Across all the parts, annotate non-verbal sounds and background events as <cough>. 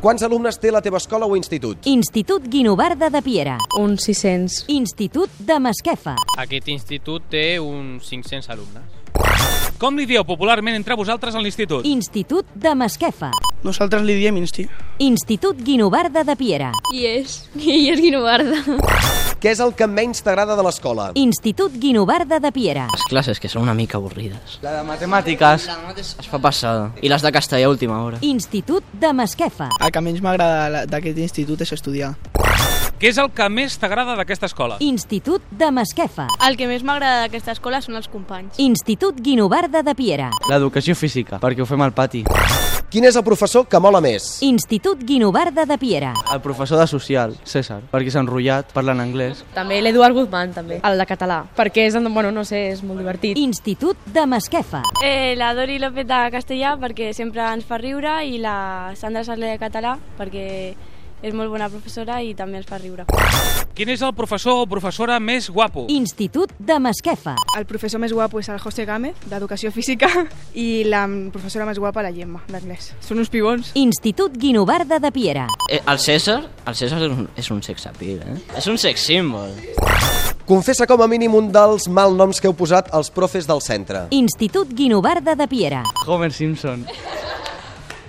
Quants alumnes té la teva escola o institut? Institut Guinovarda de Piera. Uns 600. Institut de Masquefa. Aquest institut té uns 500 alumnes. Com li dieu popularment entre vosaltres a l'institut? Institut de Masquefa. Nosaltres li diem insti. Institut Guinovarda de Piera. I és, <laughs> i és Guinovarda. Què és el que menys t'agrada de l'escola? Institut Guinovarda de Piera. Les classes que són una mica avorrides. La de matemàtiques es fa passada. I les de castellà a última hora. Institut de Masquefa. El que menys m'agrada d'aquest institut és estudiar. Què és el que més t'agrada d'aquesta escola? Institut de Masquefa. El que més m'agrada d'aquesta escola són els companys. Institut Guinovarda de Piera. L'educació física, perquè ho fem al pati. Quin és el professor que mola més? Institut Guinovarda de Piera. El professor de social, César, perquè s'ha enrotllat, parla en anglès. També l'Eduard Guzmán, també. El de català. Perquè és, bueno, no sé, és molt divertit. Institut de Masquefa. Eh, la Dori López de castellà perquè sempre ens fa riure i la Sandra Sarle de català perquè és molt bona professora i també ens fa riure. Quin és el professor o professora més guapo? Institut de Masquefa. El professor més guapo és el José Gámez, d'Educació Física, <laughs> i la professora més guapa, la Gemma, d'anglès. Són uns pibons. Institut Guinovarda de Piera. Eh, El César, el César és un, és un sexapil, eh? És un sex símbol. Confessa com a mínim un dels malnoms que heu posat als profes del centre. Institut Guinovarda de Piera. Homer Simpson.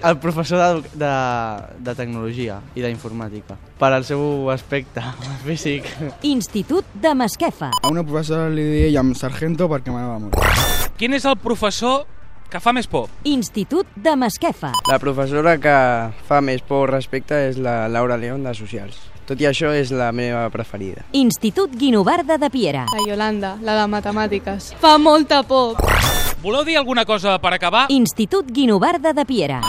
El professor de, de, de tecnologia i d'informàtica, per al seu aspecte <laughs> físic. Institut de Masquefa. A una professora li dèiem sargento perquè m'agradava molt. Quin és el professor que fa més por? Institut de Masquefa. La professora que fa més por respecte és la Laura León de Socials. Tot i això és la meva preferida. Institut Guinovarda de Piera. La Yolanda, la de matemàtiques. Fa molta por. Voleu dir alguna cosa per acabar? Institut Guinovarda de Piera.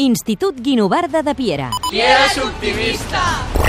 Institut Guinovarda de Piera. Qui és optimista?